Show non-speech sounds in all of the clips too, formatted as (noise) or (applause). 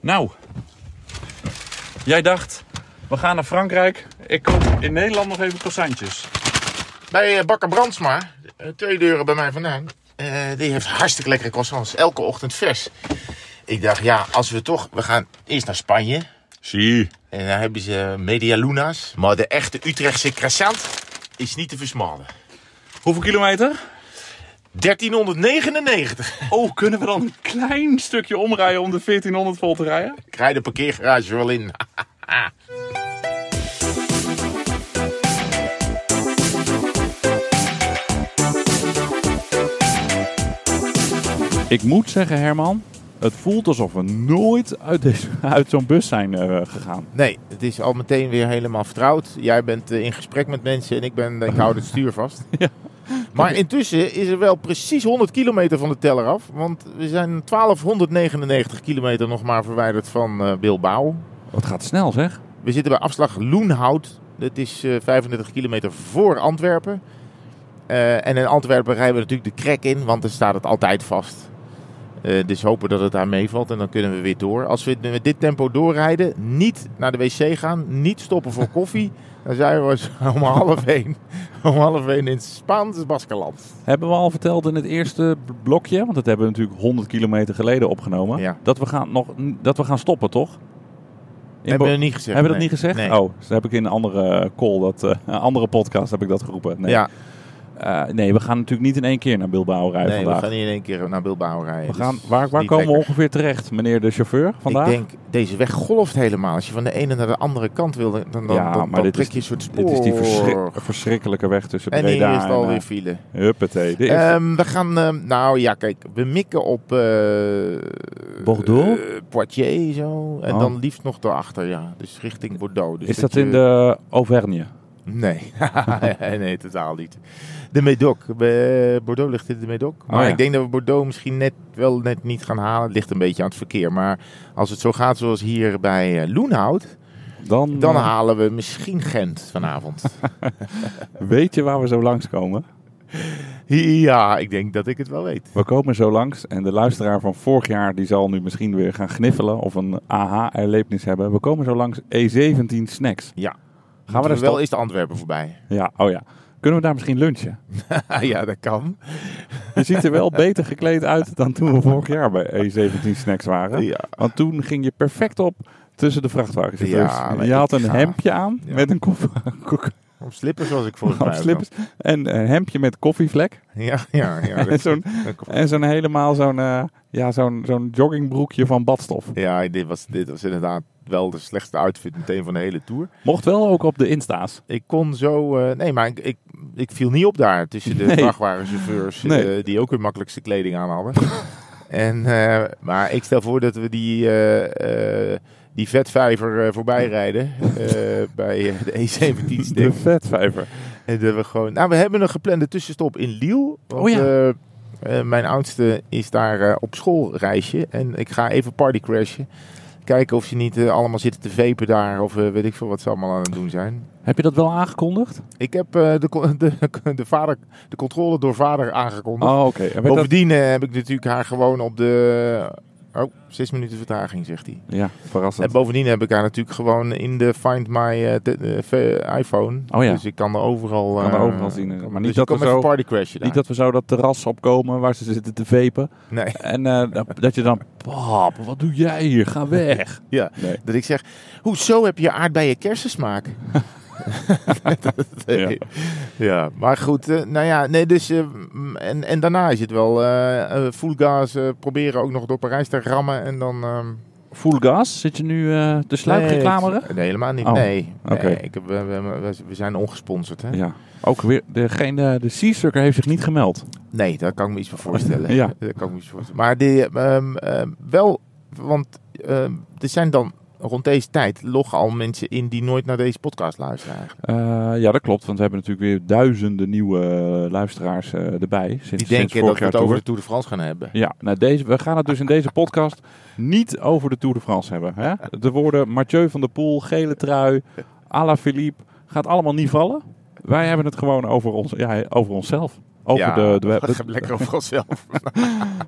Nou, jij dacht, we gaan naar Frankrijk. Ik koop in Nederland nog even croissantjes. Bij eh, Bakker Brandsma, eh, twee deuren bij mij vandaan. eh, die heeft hartstikke lekkere croissants. Elke ochtend vers. Ik dacht, ja, als we toch... We gaan eerst naar Spanje. Zie. En daar hebben ze Media Luna's. Maar de echte Utrechtse croissant is niet te versmalen. Hoeveel kilometer? 1399. Oh, kunnen we dan een klein stukje omrijden om de 1400 vol te rijden? Ik rij de parkeergarage wel in. Ik moet zeggen, Herman, het voelt alsof we nooit uit, deze- uit zo'n bus zijn eh, gegaan. Nee, het is al meteen weer helemaal vertrouwd. Jij bent eh, in gesprek met mensen en ik, ben, ik hou het stuur vast. Ja. Maar intussen is er wel precies 100 kilometer van de teller af. Want we zijn 1299 kilometer nog maar verwijderd van eh, Bilbao. Wat gaat snel, zeg? We zitten bij afslag Loenhout. Dat is eh, 35 kilometer voor Antwerpen. Eh, en in Antwerpen rijden we natuurlijk de krek in, want dan staat het altijd vast. Eh, dus hopen dat het daar meevalt en dan kunnen we weer door. Als we met dit tempo doorrijden, niet naar de wc gaan, niet (laughs) stoppen voor koffie. dan zijn we zo om half één, om half één in het Spaanse Baskeland. Hebben we al verteld in het eerste b- blokje, want dat hebben we natuurlijk 100 kilometer geleden opgenomen, Ja. dat, we gaan nog, dat we gaan stoppen, toch? In Hebben Bo- we niet gezegd? Hebben we dat nee. niet gezegd? Nee. Oh, dus heb ik in een andere call, dat, eh, een andere podcast heb ik dat geroepen. Nee. Ja, Eh, nee, we gaan natuurlijk niet in één keer naar Bilbao rijden nee, we vandaag. gaan niet in één keer naar Bilbao rijden. We Dus gaan, waar is waar niet komen we lekker. ongeveer terecht, meneer de chauffeur, vandaag? Ik denk, deze weg golft helemaal. Als je van de ene naar de andere kant wil, dan, dan, Ja, dan, dan maar dit trek is- je een soort spoor. Dit is die verschrik- verschrikkelijke weg tussen en Breda hier is het en, eh, alweer file. Huppatee. De eerste- Ehm, we gaan, ehm, nou ja, kijk, we mikken op eh, Bordeaux? eh, Poitiers zo. En Oh. dan liefst nog daarachter, ja. Dus richting Bordeaux. Dus is dat je- in de Auvergne? Nee. (laughs) nee, totaal niet. De Médoc. Eh, Bordeaux ligt in de Médoc. Maar Oh, ja. ik denk dat we Bordeaux misschien net wel net niet gaan halen. Het ligt een beetje aan het verkeer. Maar als het zo gaat zoals hier bij eh, Loenhout, Dan, dan eh, halen we misschien Gent vanavond. eh, weet je waar we zo langskomen? (laughs) ja, ik denk dat ik het wel weet. We komen zo langs en de luisteraar van vorig jaar die zal nu misschien weer gaan gniffelen of een aha-erlevenis hebben. We komen zo langs E17 Snacks. Ja. Gaan we daar wel wel... is de Antwerpen (laughs) voorbij. Ja, oh ja. Kunnen we daar misschien lunchen? ja, dat kan. Je ziet er wel beter gekleed uit dan toen we vorig jaar bij E17 Snacks waren. Ja. Want toen ging je perfect op tussen de vrachtwagenchauffeurs. Ja, je nee, had ik een ga- hempje aan Ja. met een koffie... Op slippers was ik volgens mij. Op ook (laughs) slippers. En een hempje met koffievlek. nog. Ja, ja, (laughs) ja. En dat- zo'n, en zo'n helemaal zo'n, eh, ja, zo'n, zo'n joggingbroekje van badstof. ja, dit was, dit was inderdaad wel de slechtste outfit meteen van de hele tour. Mocht wel ook op de Insta's. Ik kon zo... eh, nee, maar ik, ik, ik viel niet op daar tussen de Nee. vrachtwagenchauffeurs... eh, Nee. die ook hun makkelijkste kleding aan hadden. (laughs) en, eh, maar ik stel voor dat we die, eh, eh, die vetvijver eh, voorbij rijden eh, (laughs) bij eh, de E17 De (laughs) stik. vetvijver. En dat we gewoon... Nou, we hebben een geplande tussenstop in Liel. Want, Oh ja. eh, eh, mijn oudste is daar eh, op schoolreisje. En ik ga even partycrashen. Kijken of ze niet eh, allemaal zitten te vepen daar. Of eh, weet ik veel wat ze allemaal aan het doen zijn. Heb je dat wel aangekondigd? Ik heb eh, de, co- (laughs) de, de, vader, de controle door vader aangekondigd. Oh, oké. En werd dat- Bovendien eh, heb ik natuurlijk haar gewoon op de... Oh, zes minuten vertraging, zegt hij. Ja, En verrassend. bovendien heb ik haar natuurlijk gewoon in de Find My eh, te- eh, ve- iPhone. Oh ja. Dus ik kan er overal, Kan er eh, overal zien, eh, maar niet dus dat ik we kan zo- party crashen Niet dat we zo dat terras opkomen waar ze zitten te vepen. Nee, En eh, dat- dat je dan... Pap, wat doe jij hier? Ga weg. ja. Nee. Dat ik zeg, hoezo heb je aardbeien (laughs) kersensmaak? Ja. ja. (laughs) ja, maar goed. eh, nou ja, nee, dus, eh, mm, en, en daarna is het wel eh eh, full gas eh, proberen ook nog door Parijs te rammen. En dan... ehm, Full gas. Zit je nu eh, de sluip nee, reclameren? ik- Nee, helemaal niet. Oh, nee. oké. nee ik heb, we, we, we zijn ongesponsord, hè? Ja. Ook weer, degene, de Sea Sucker heeft zich niet gemeld. Nee, daar kan ik me iets van voorstellen. Ja. Daar kan ik me iets van voorstellen. Maar die, ehm, ehm, wel, want ehm, er zijn dan rond deze tijd loggen al mensen in die nooit naar deze podcast luisteren eigenlijk. Eh, ja, dat klopt. Want we hebben natuurlijk weer duizenden nieuwe eh, luisteraars eh, erbij. Sinds, Die sinds denken dat vorig we jaar het over tour. de Tour de France gaan hebben. Ja, nou deze, we gaan het dus in deze podcast niet over de Tour de France hebben. Hè? De woorden Mathieu van der Poel, gele trui, Alaphilippe, gaat allemaal niet vallen. Wij hebben het gewoon over, ons, ja, over onszelf. Over ja, de, de, we- dat gaat lekker over onszelf. dat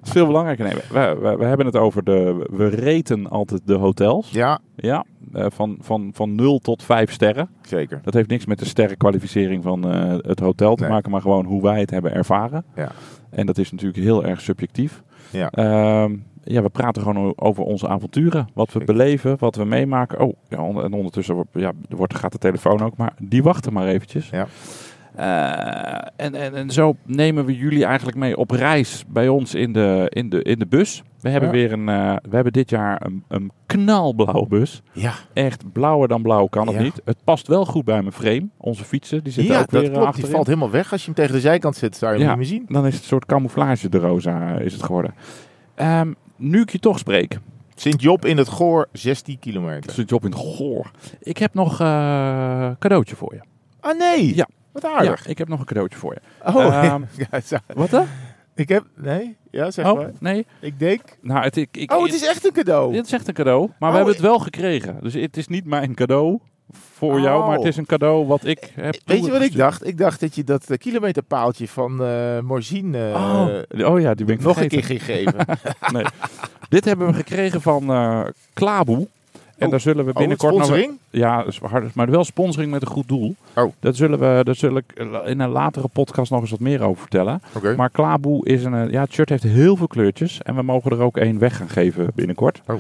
is veel belangrijker. Nee, we, we, we hebben het over de... We reten altijd de hotels. Ja, (laughs) ja, eh, van, van, van 0 tot 5 sterren. zeker. Dat heeft niks met de sterrenkwalificering van eh, het hotel te Nee. maken, maar gewoon hoe wij het hebben ervaren. Ja. En dat is natuurlijk heel erg subjectief. Ja. Ehm, ja, we praten gewoon o- over onze avonturen. Wat we Zeker. beleven, wat we meemaken. Oh, ja, on- en ondertussen wordt, ja, wordt, gaat de telefoon ook, maar die wachten maar eventjes. Ja. Eh, en, en, en zo nemen we jullie eigenlijk mee op reis bij ons in de, in de, in de bus. We hebben, Ja. weer een, eh, we hebben dit jaar een, een knalblauwe bus. Ja, Echt blauwer dan blauw kan het Ja. niet. Het past wel goed bij mijn frame. Onze fietsen, die zitten ja ook weer dat eh, klopt. Die achterin. valt helemaal weg. Als je hem tegen de zijkant zet, zou je hem Ja. niet meer zien. Dan is het een soort camouflage de rosa eh, is het geworden. Ehm, nu ik je toch spreek. Sint-Job in het Goor, 16 Het kilometer. is een job in het goor. Ik heb nog eh, een cadeautje voor je. Ah nee, Ja. wat aardig. Ja, ik heb nog een cadeautje voor je. Oh, Ehm, (laughs) ja, zo- wat dan? ik heb... Nee, ja, zeg Oh, maar. nee. Ik denk... Nou, het, ik, ik, Oh, het is echt een cadeau. Dit is echt een cadeau. Maar Oh, we hebben het ik- wel gekregen. Dus het is niet mijn cadeau voor Oh. jou. Maar het is een cadeau wat ik heb Weet je wat ik toegestuurd. dacht? Ik dacht dat je dat eh, kilometerpaaltje van eh Morzine eh, Oh, oh ja, die ben ik nog vergeten. een keer (laughs) ging geven. Oh, Dit hebben we gekregen van eh Klaboe. En Oh. daar zullen we Oh, het binnenkort nog... sponsoring? Ja, is hard, maar wel sponsoring met een goed doel. Oh. Dat zullen we, daar zullen ik in een latere podcast nog eens wat meer over vertellen. Oké. Maar Klaboe is een... eh, Ja, het shirt heeft heel veel kleurtjes. En we mogen er ook één weg gaan geven binnenkort. Oh.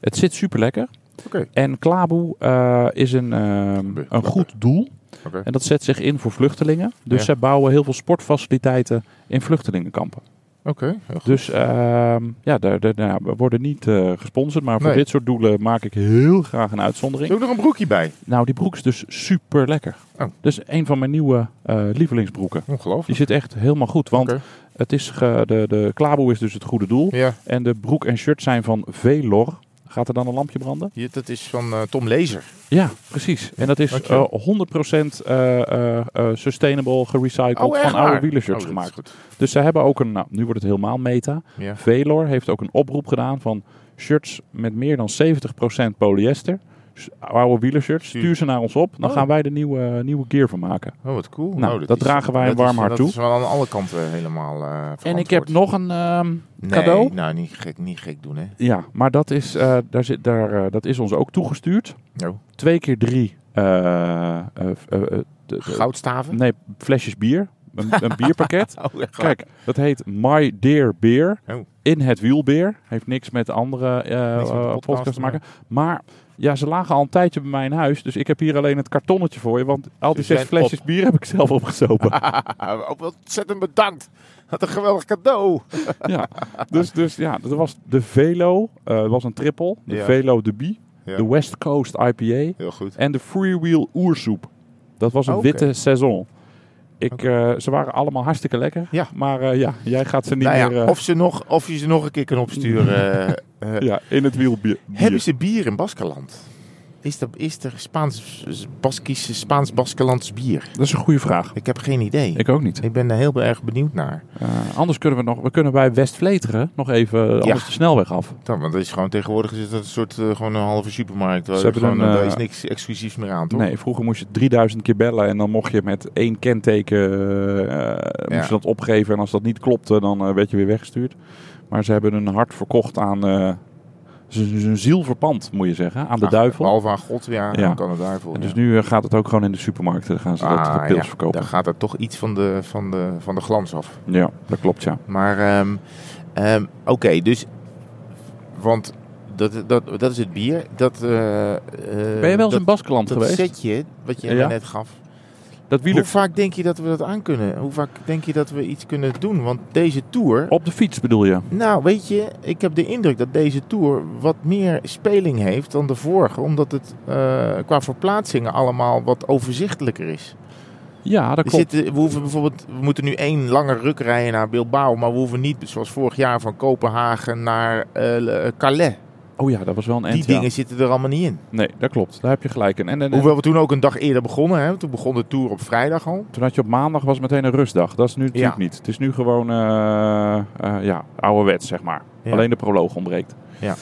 Het zit super lekker. Oké. En Klaboe eh, is een, ehm, Be- een goed doel. Oké. En dat zet zich in voor vluchtelingen. Dus Ja. zij bouwen heel veel sportfaciliteiten in vluchtelingenkampen. Oké, heel goed. Dus ehm, ja, daar, daar- nou ja, we worden niet eh, gesponsord, maar voor Nee. dit soort doelen maak ik heel graag een Doe uitzondering. ik nog een broekje bij. Nou, die broek is dus super lekker. Oh. Dus een van mijn nieuwe eh, lievelingsbroeken. Die Ongelooflijk. zit echt helemaal goed, want Oké. het is ge- de, de klaboe is dus het goede doel. Ja, En de broek en shirt zijn van Velor. Gaat er dan een lampje branden? hier, dat is van eh, Tom Lezer. Ja, precies. En dat is eh Dankjewel. 100% eh, eh, eh, sustainable, gerecycled, Oh, echt van oude waar? wielershirts Oh, dat is gemaakt. Dus zij hebben ook een, nou, nu wordt het helemaal meta, goed. Ja. Velor heeft ook een oproep gedaan van shirts met meer dan 70% polyester. s- Oude wielershirts, Stuur. stuur ze naar ons op. Dan Oh. gaan wij de nieuwe, nieuwe gear van maken. Oh, wat cool. Nou, dat dragen wij een dat is- warm hart toe. Dat is wel aan alle kanten helemaal eh, En ik verantwoord. heb nog een ehm, Nee, cadeau. nou, niet gek, niet gek doen, hè. Ja, maar dat is, eh, daar zit, daar, eh, dat is ons ook toegestuurd. No. Twee keer drie eh, eh, eh, eh, de- de- Goudstaven? nee, flesjes bier. Een, (laughs) een bierpakket. Oh, echt waar? Nou, (laughs) Kijk, dat heet My Dear Beer. Oh. In het wielbeer. Heeft niks met andere eh Niks met de eh, podcast podcasts te te maken. Maar ja, ze lagen al een tijdje bij mij in huis. Dus ik heb hier alleen het kartonnetje voor je. Want al die Ze zes zijn flesjes bier heb ik zelf (laughs) opgezopen. Ah, ook ontzettend bedankt. Wat een geweldig cadeau. ja. Dus, dus ja, dat was de Velo. eh, dat was een triple. De Ja. Velo de Bie. Ja. De West Coast IPA. Heel goed. En de Freewheel Oersoep. Dat was een Oké. witte saison. Ik, eh, ze waren allemaal hartstikke lekker. Ja. Maar eh, ja, jij gaat ze niet Nou ja, meer eh, of, ze nog, of je ze nog een keer kan opsturen. eh, eh, (laughs) ja, in het wielbier. Hebben ze bier in Baskeland? Is er, is er Spaans, Baskische, Spaans Baskelands bier? Dat is een goede vraag. Ik heb geen idee. Ik, Ik ook niet. ben daar heel erg benieuwd naar. Eh, anders kunnen we nog, we kunnen bij West-Vleteren nog even eh, anders de snelweg af. Dan, want dat is gewoon tegenwoordig is dat een soort eh, gewoon een halve supermarkt. Waar Ze hebben gewoon, een, daar eh, is niks exclusiefs meer aan, toch? Nee, vroeger moest je 3000 keer bellen en dan mocht je met één kenteken eh, moest je dat opgeven. En als dat niet klopte, dan eh, werd je weer weggestuurd. Maar ze hebben hun hart verkocht aan eh, z- z- hun ziel verpand, moet je zeggen, aan de Ah, duivel. Behalve aan God, ja, oh, Ja. dan kan het daarvoor. En ja. dus nu eh, gaat het ook gewoon in de supermarkten. Dan gaan ze dat Ah, eh, pils ja, verkopen. Dan gaat er toch iets van de, van de, van de glans af. Ja, dat klopt ja. Maar ehm, ehm, oké, dus. Want dat, dat, dat is het bier. Dat, eh, eh, Ben je wel eens dat, in Baskeland dat geweest? setje wat je Ja. mij net gaf. Dat Hoe wieler vaak denk je dat we dat aan kunnen? Hoe vaak denk je dat we iets kunnen doen? Want deze tour. op de fiets bedoel je? Nou, weet je, ik heb de indruk dat deze tour wat meer speling heeft dan de vorige. Omdat het eh, qua verplaatsingen allemaal wat overzichtelijker is. Ja, dat We, klopt. zitten, we, hoeven bijvoorbeeld, we moeten nu één lange ruk rijden naar Bilbao, maar we hoeven niet, zoals vorig jaar, van Kopenhagen naar eh, Calais. Oh ja, dat was wel een Die end. ja. dingen zitten er allemaal niet in. Nee, dat klopt. Daar heb je gelijk in. En, en, en Hoewel we toen ook een dag eerder begonnen, hè? toen begon de tour op vrijdag al. toen had je op maandag was meteen een rustdag. Dat is nu natuurlijk Ja. niet. Het is nu gewoon eh eh ja, ouderwets, zeg maar. Ja. Alleen de proloog ontbreekt. Ja.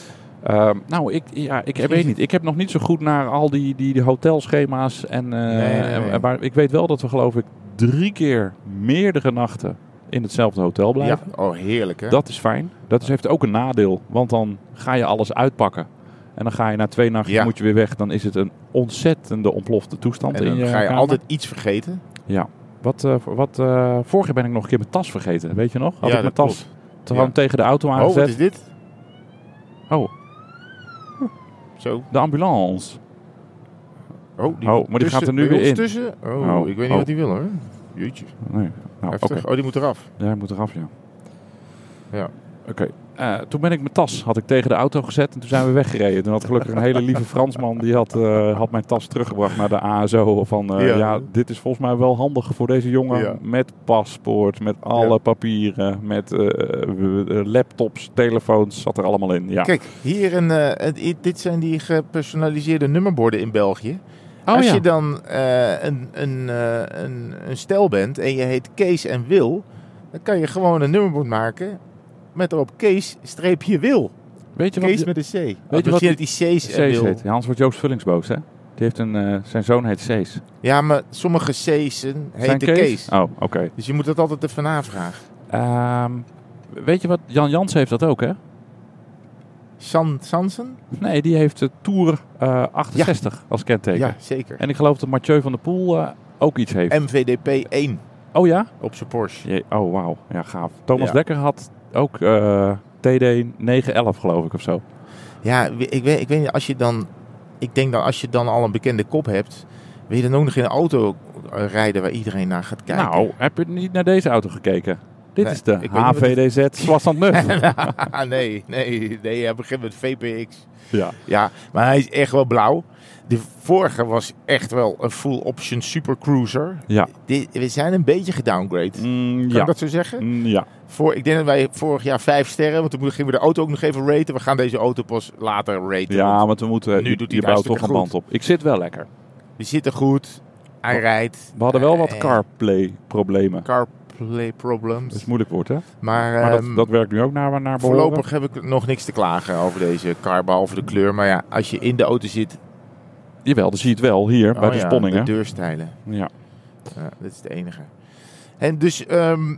Ehm, nou, ik, ja, ik weet niet. Ik heb nog niet zo goed naar al die, die, die hotelschema's. En, eh, Nee, nee, nee. en- maar ik weet wel dat we geloof ik drie keer meerdere nachten in hetzelfde hotel Ja, blijven. oh heerlijk hè. Dat is fijn. Dat is, heeft ook een nadeel, want dan ga je alles uitpakken. En dan ga je na twee nachten Ja. moet je weer weg. Dan is het een ontzettende ontplofte toestand en in dan je ga je kamer. altijd iets vergeten. Wat, eh, voor- wat, eh, vorig jaar ben ik nog een keer mijn tas vergeten, weet je nog? Had ja, ik mijn dat tas klopt. gewoon Ja. tegen de auto Oh, wat aangezet. is dit? Oh, Zo. de ambulance. Oh, die Oh, moet maar die gaat er tussen- nu bij weer ons in. Tussen. Oh, Oh, ik weet niet oh. wat hij wil hoor. Jeetje. Nee. Nou, oké. Heftig. Oh, die moet eraf. Ja, hij moet eraf, ja. Ja. Oké. Eh, toen ben ik mijn tas had ik tegen de auto gezet en toen zijn we weggereden. Toen had gelukkig een hele lieve Fransman die had, eh, had mijn tas teruggebracht naar de ASO. Van eh, Ja. ja. dit is volgens mij wel handig voor deze jongen. Ja. Met paspoort, met alle Ja. papieren, met eh, eh, laptops, telefoons, zat er allemaal in. Ja. Kijk, hier een, eh, het- i- dit zijn die gepersonaliseerde nummerborden in België. Oh Als ja. je dan eh, een, een, eh, een, een stel bent en je heet Kees en Wil, dan kan je gewoon een nummerbord maken met erop Kees streepje Wil. Weet je wat? Kees met een C. Weet wat misschien die- dat die C's en Sees Wil. heet. Ja, anders wordt Joost Vullings boos, hè? Die heeft een, eh, zijn zoon heet Sees. Ja, maar sommige C's en Zijn heten Kees. Oh, oké. Dus je moet dat altijd even navragen. Ehm, weet je wat? Jan Jans heeft dat ook, hè? San, Sansen? Nee, die heeft de Tour eh, 68 als kenteken. Ja, zeker. En ik geloof dat Mathieu van der Poel eh, ook iets heeft. MVDP 1 Oh ja? op zijn Porsche. Jee, oh, wauw. Ja, gaaf. Thomas Ja. Dekker had ook eh, TD 911, geloof ik, of zo. Ja, we- ik weet, ik weet niet, als je dan... Ik denk dat als je dan al een bekende kop hebt... Wil je dan ook nog in een auto eh, rijden waar iedereen naar gaat kijken? Nou, heb je niet naar deze auto gekeken? Dit Nee, is de ik weet niet wat HVDZ Swassand (laughs) Nuf. (laughs) Ah, nee, nee, nee, hij begint met VPX. ja. Ja, maar hij is echt wel blauw. De vorige was echt wel een full option supercruiser. Ja. Dit- we zijn een beetje gedowngrade. Kan Mm, ja. ik dat zo zeggen? Mm, ja. Voor, ik denk dat wij vorig jaar vijf sterren, want toen gingen we de auto ook nog even raten. We gaan deze auto pas later raten. Ja, want want we moeten. Nu je- doet hij je het bouwt toch hartstikke een band op. Ik zit wel lekker. we zitten goed. Hij We- rijdt. We hadden wel wat Eh, CarPlay-problemen. CarPlay problems. Dat is een moeilijk woord, hè? maar Dus Maar ehm, dat, dat werkt nu ook naar, naar behoren. voorlopig heb ik nog niks te klagen over deze car, behalve de kleur. Maar ja, als je in de auto zit, Jawel, dan zie je het wel hier bij oh de ja, spanningen. de deurstijlen. Ja. Ja, dat is het enige. En dus, ehm,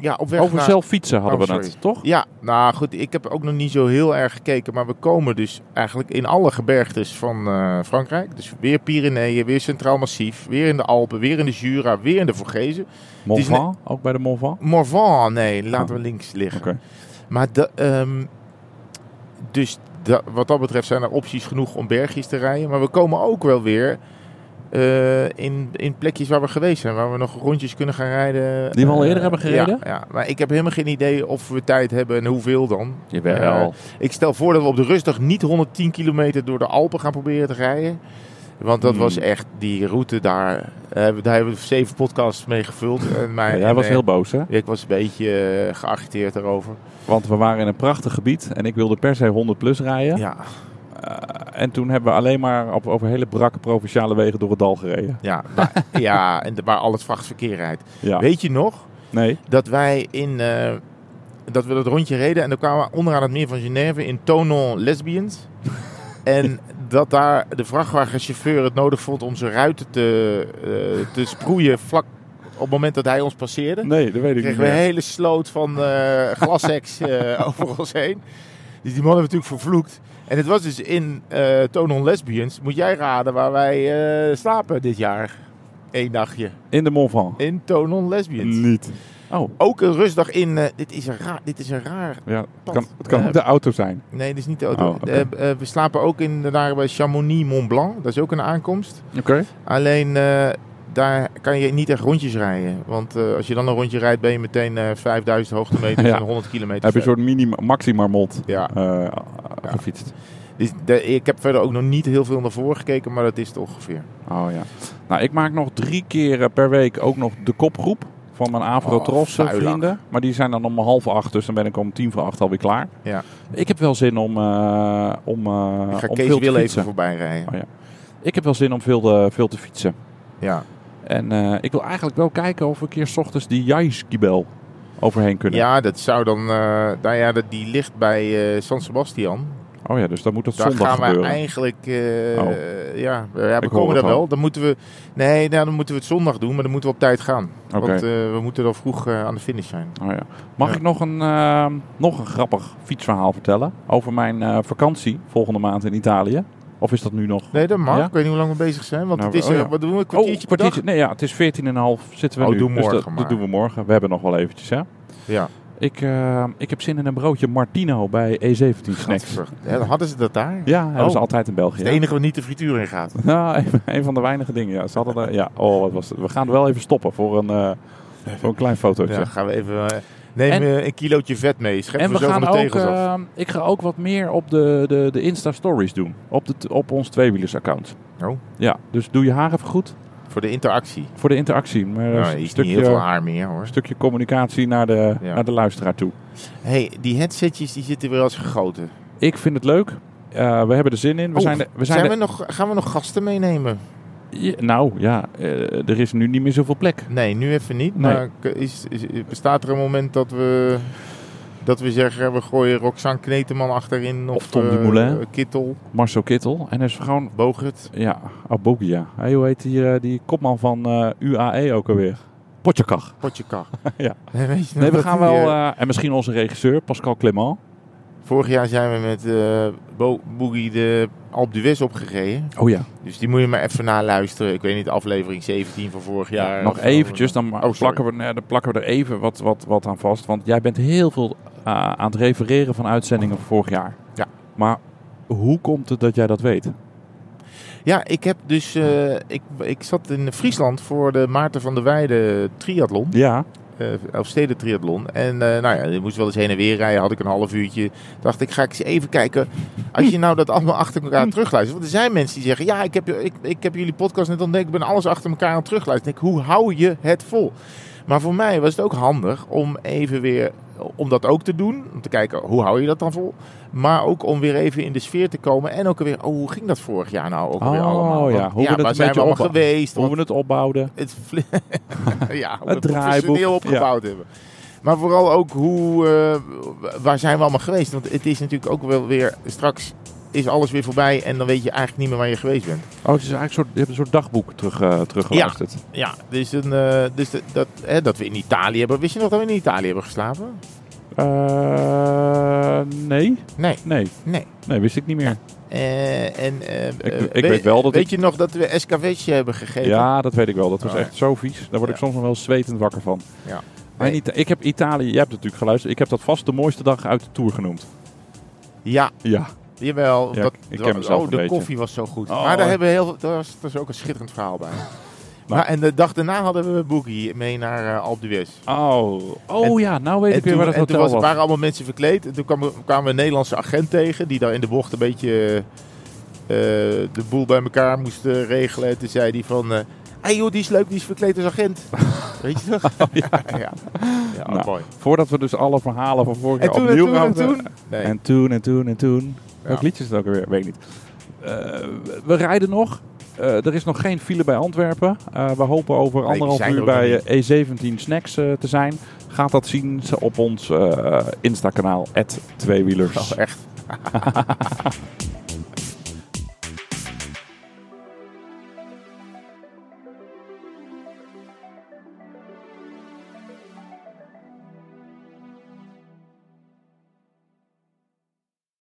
ja, op weg Over naar... zelf fietsen hadden Oh, we het, sorry. toch? Ja, nou goed, ik heb ook nog niet zo heel erg gekeken. Maar we komen dus eigenlijk in alle gebergtes van eh, Frankrijk. Dus weer Pyreneeën, weer Centraal Massief, weer in de Alpen, weer in de Jura, weer in de Vorgezen. Mont Het is ne- Blanc, ook bij de Mont Blanc? Morvan, nee, laten Oh. we links liggen. Oké. Maar de, ehm, dus da- wat dat betreft zijn er opties genoeg om bergjes te rijden. Maar we komen ook wel weer eh, in, in plekjes waar we geweest zijn. Waar we nog rondjes kunnen gaan rijden. Die we al Eh, eerder hebben gereden? Ja, ja, maar ik heb helemaal geen idee of we tijd hebben en hoeveel dan. Jawel. Ik stel voor dat we op de rustdag niet 110 kilometer door de Alpen gaan proberen te rijden. Want dat Hmm. was echt die route daar. eh, daar hebben we zeven podcasts mee gevuld. En Ja, mijn, jij was eh, heel boos, hè? Ik was een beetje eh, geagiteerd daarover. Want we waren in een prachtig gebied en ik wilde per se 100 plus rijden. ja. Eh, en toen hebben we alleen maar op, over hele brakke provinciale wegen door het dal gereden. Ja, maar, ja en de- waar al het vrachtverkeer rijdt. Ja. Weet je nog Nee. dat wij in. eh, dat we dat rondje reden en dan kwamen we onderaan het meer van Genève in Tonon Lesbians. En dat daar de vrachtwagenchauffeur het nodig vond om zijn ruiten te, eh, te sproeien vlak op het moment dat hij ons passeerde. Nee, dat weet ik niet kregen we een meer. hele sloot van (laughs) eh glasheks eh, over ons heen. Dus die man hebben natuurlijk vervloekt. En het was dus in eh Tonon Lesbians. Moet jij raden waar wij eh, slapen dit jaar? Eén dagje. In de Mont Blanc. In Tonon Lesbians. Niet. Oh, Ook een rustdag in... eh, dit, is een raar, dit is een raar... ja. Het Pad. kan, het kan Eh, ook de auto zijn. Nee, dit is niet de auto. Oh, oké. Eh, eh, we slapen ook in, daar bij Chamonix-Mont Blanc. Dat is ook een aankomst. Oké. Alleen eh, daar kan je niet echt rondjes rijden. Want eh, als je dan een rondje rijdt ben je meteen eh, 5000 (laughs) hoogtemeters Ja. en 100 kilometer Heb je een verder. soort minima, maxima mod eh, Ja, eh, gefietst. Dus de- ik heb verder ook nog niet heel veel naar voren gekeken, maar dat is het ongeveer. Oh ja. Nou, ik maak nog drie keer eh, per week ook nog de kopgroep van mijn Avrotros Oh, eh, vuilak. vrienden. Maar die zijn dan om half acht, dus dan ben ik om tien voor acht alweer klaar. Ja. Ik heb wel zin om, eh, om, eh, Ik ga om Kees veel te Wil even fietsen. Oh, voorbij rijden. Ik heb wel zin om veel, te- veel te fietsen. Ja, En eh, ik wil eigenlijk wel kijken of we een keer 's ochtends die Jaiskibel overheen kunnen. ja dat zou dan... eh nou ja, dat, die ligt bij eh, San Sebastian. Oh ja, dus dan moet dat Daar zondag gaan we gebeuren. eigenlijk. eh, Oh. Ja, we- ja, we Ik hoor komen het daar al. wel. Dan moeten we. Nee, nou, dan moeten we het zondag doen, maar dan moeten we op tijd gaan. Oké. Want eh, we moeten dan vroeg eh, aan de finish zijn. Oh ja. Mag Ja. ik nog een, ehm, nog een grappig fietsverhaal vertellen over mijn eh, vakantie volgende maand in Italië? Of is dat nu nog? Nee, dat mag. Ja? Ik weet niet hoe lang we bezig zijn. Want Nou, het is, oh eh, ja. wat doen we? Een kwartiertje per dag? Nee, ja, het is 14,5 zitten we Oh, nu. doe morgen dus dat, maar. dat doen we morgen. We hebben nog wel eventjes, hè? Ja. Ik, ehm, ik heb zin in een broodje Martino bij E17 Snacks. Gadver. Hè, Hadden ze dat daar? Dat Ja, hebben Oh. ze altijd in België. is het enige wat niet de frituur in gaat. (laughs) Ja, een, een van de weinige dingen. Ja, ze hadden er- ja oh, wat was het? We gaan er wel even stoppen voor een, eh, voor een klein fotootje. Ja, gaan we even. eh, neem En- eh, een kilootje vet mee. Scheppen En we we zo van gaan de ook, tegels af. eh, ik ga ook wat meer op de, de, de Insta-stories doen. Op, de, t- op ons tweewielers-account. Oh. Ja, dus doe je haar even goed Voor de interactie. voor de interactie. Maar Nou, eh, is een niet stukje, heel veel haar meer hoor. een stukje communicatie naar de, Ja. naar de luisteraar toe. hey, die headsetjes die zitten weer als gegoten. Ik vind het leuk. Eh, we hebben er zin in. We Oh, zijn, de, we zijn, we nog, gaan we nog gasten meenemen? de- je- nou ja, eh, er is nu niet meer zoveel plek. Nee, nu even niet. Nee. Maar k- is, is- bestaat er een moment dat we, dat we zeggen, we gooien Roxanne Kneteman achterin? Of, Of Tom eh, Dumoulin. Kittel, Marcel Kittel. En er is gewoon, Bogert. ja, Abogia. Hey, hoe heet die, eh, die kopman van eh, UAE ook alweer? Potjakach. Potjeka. (laughs) Ja. (laughs) Weet je Nee, nog we dat gaan die, wel... eh, eh, en misschien onze regisseur, Pascal Clement. vorig jaar zijn we met eh Bo Boogie de Alpe d'Huez opgereden. Oh ja. Dus die moet je maar even naluisteren. Ik weet niet, aflevering 17 van vorig jaar. Nog Oh, of zo. eventjes, dan, ma- sorry. plakken we, nee, dan plakken we er even wat, wat, wat aan vast. Want jij bent heel veel eh, aan het refereren van uitzendingen van vorig jaar. Ja. Maar hoe komt het dat jij dat weet? Ja, ik heb dus... eh, ik, ik zat in Friesland voor de Maarten van der Weijden triathlon. Ja. eh Elfsteden triathlon. En eh, nou ja, je moest wel eens heen en weer rijden. Had ik een half uurtje. Dacht ik, ga ik eens even kijken. Als je nou dat allemaal achter Hmm. elkaar terugluistert. Want er zijn mensen die zeggen, ja, ik heb, ik, ik heb jullie podcast net ontdekt. Ik ben alles achter elkaar aan het terugluisteren. Ik denk, hoe hou je het vol? Maar voor mij was het ook handig om even weer, om dat ook te doen. Om te kijken, hoe hou je dat dan vol? Maar ook om weer even in de sfeer te komen. En ook weer, oh, hoe ging dat vorig jaar nou ook weer Oh, allemaal? Want, ja, hoe we dat waar een zijn we beetje allemaal opbouwen. geweest? Hoe we het opbouwden. het, vli- (laughs) ja, hoe Het we professioneel draaiboek, opgebouwd hebben. Maar vooral ook hoe, eh, waar zijn we allemaal geweest? Want het is natuurlijk ook wel weer, straks is alles weer voorbij en dan weet je eigenlijk niet meer waar je geweest bent. Oh, het is eigenlijk een soort, je hebt een soort dagboek terug, eh, teruggeluisterd. Ja, dus, een, eh, dus dat, dat, hè, dat we in Italië hebben. Wist je nog dat we in Italië hebben geslapen? Eh, nee. Nee, Nee. nee. Nee, wist ik niet meer. Eh, en, eh, Ik- eh, ik weet wel dat Weet ik- je nog dat we escavetje hebben gegeven? Ja, dat weet ik wel. Dat was Oh, ja. echt zo vies. Daar word ik Ja. soms nog wel zwetend wakker van. Ja. Maar niet, ik heb Italië, jij hebt het natuurlijk geluisterd. Ik heb dat vast de mooiste dag uit de Tour genoemd. Ja, Ja. jawel. Ja, dat, ik ken mezelf oh, een de beetje. koffie was zo goed. Oh, maar daar ja. hebben we heel, daar was, daar is ook een schitterend verhaal bij. maar, en de dag daarna hadden we Boogie mee naar eh, Alpe d'Huez. Oh, oh En- ja, nou weet En ik weer toen, waar dat en toen hotel was, was. waren allemaal mensen verkleed. En toen kwam- kwamen, we een Nederlandse agent tegen. Die daar in de bocht een beetje eh, de boel bij elkaar moest eh, regelen. En toen zei hij van... eh hey joh, die is leuk, die is verkleed als (laughs) agent. Weet je toch? ja. ja. oh, Nou, mooi. Voordat we dus alle verhalen van vorig En jaar toen, en opnieuw toen, en gaan toen. vertellen. Nee. En toen, en toen, en toen. Ja. Welk liedje is het ook alweer? Weet ik niet. Eh, we rijden nog. Eh, er is nog geen file bij Antwerpen. Eh, we hopen over die anderhalf zijn er uur ook nog bij niet. eh, E17 Snacks eh, te zijn. Gaat dat zien ze (laughs) op ons eh Insta-kanaal, @tweewielers. Oh, echt.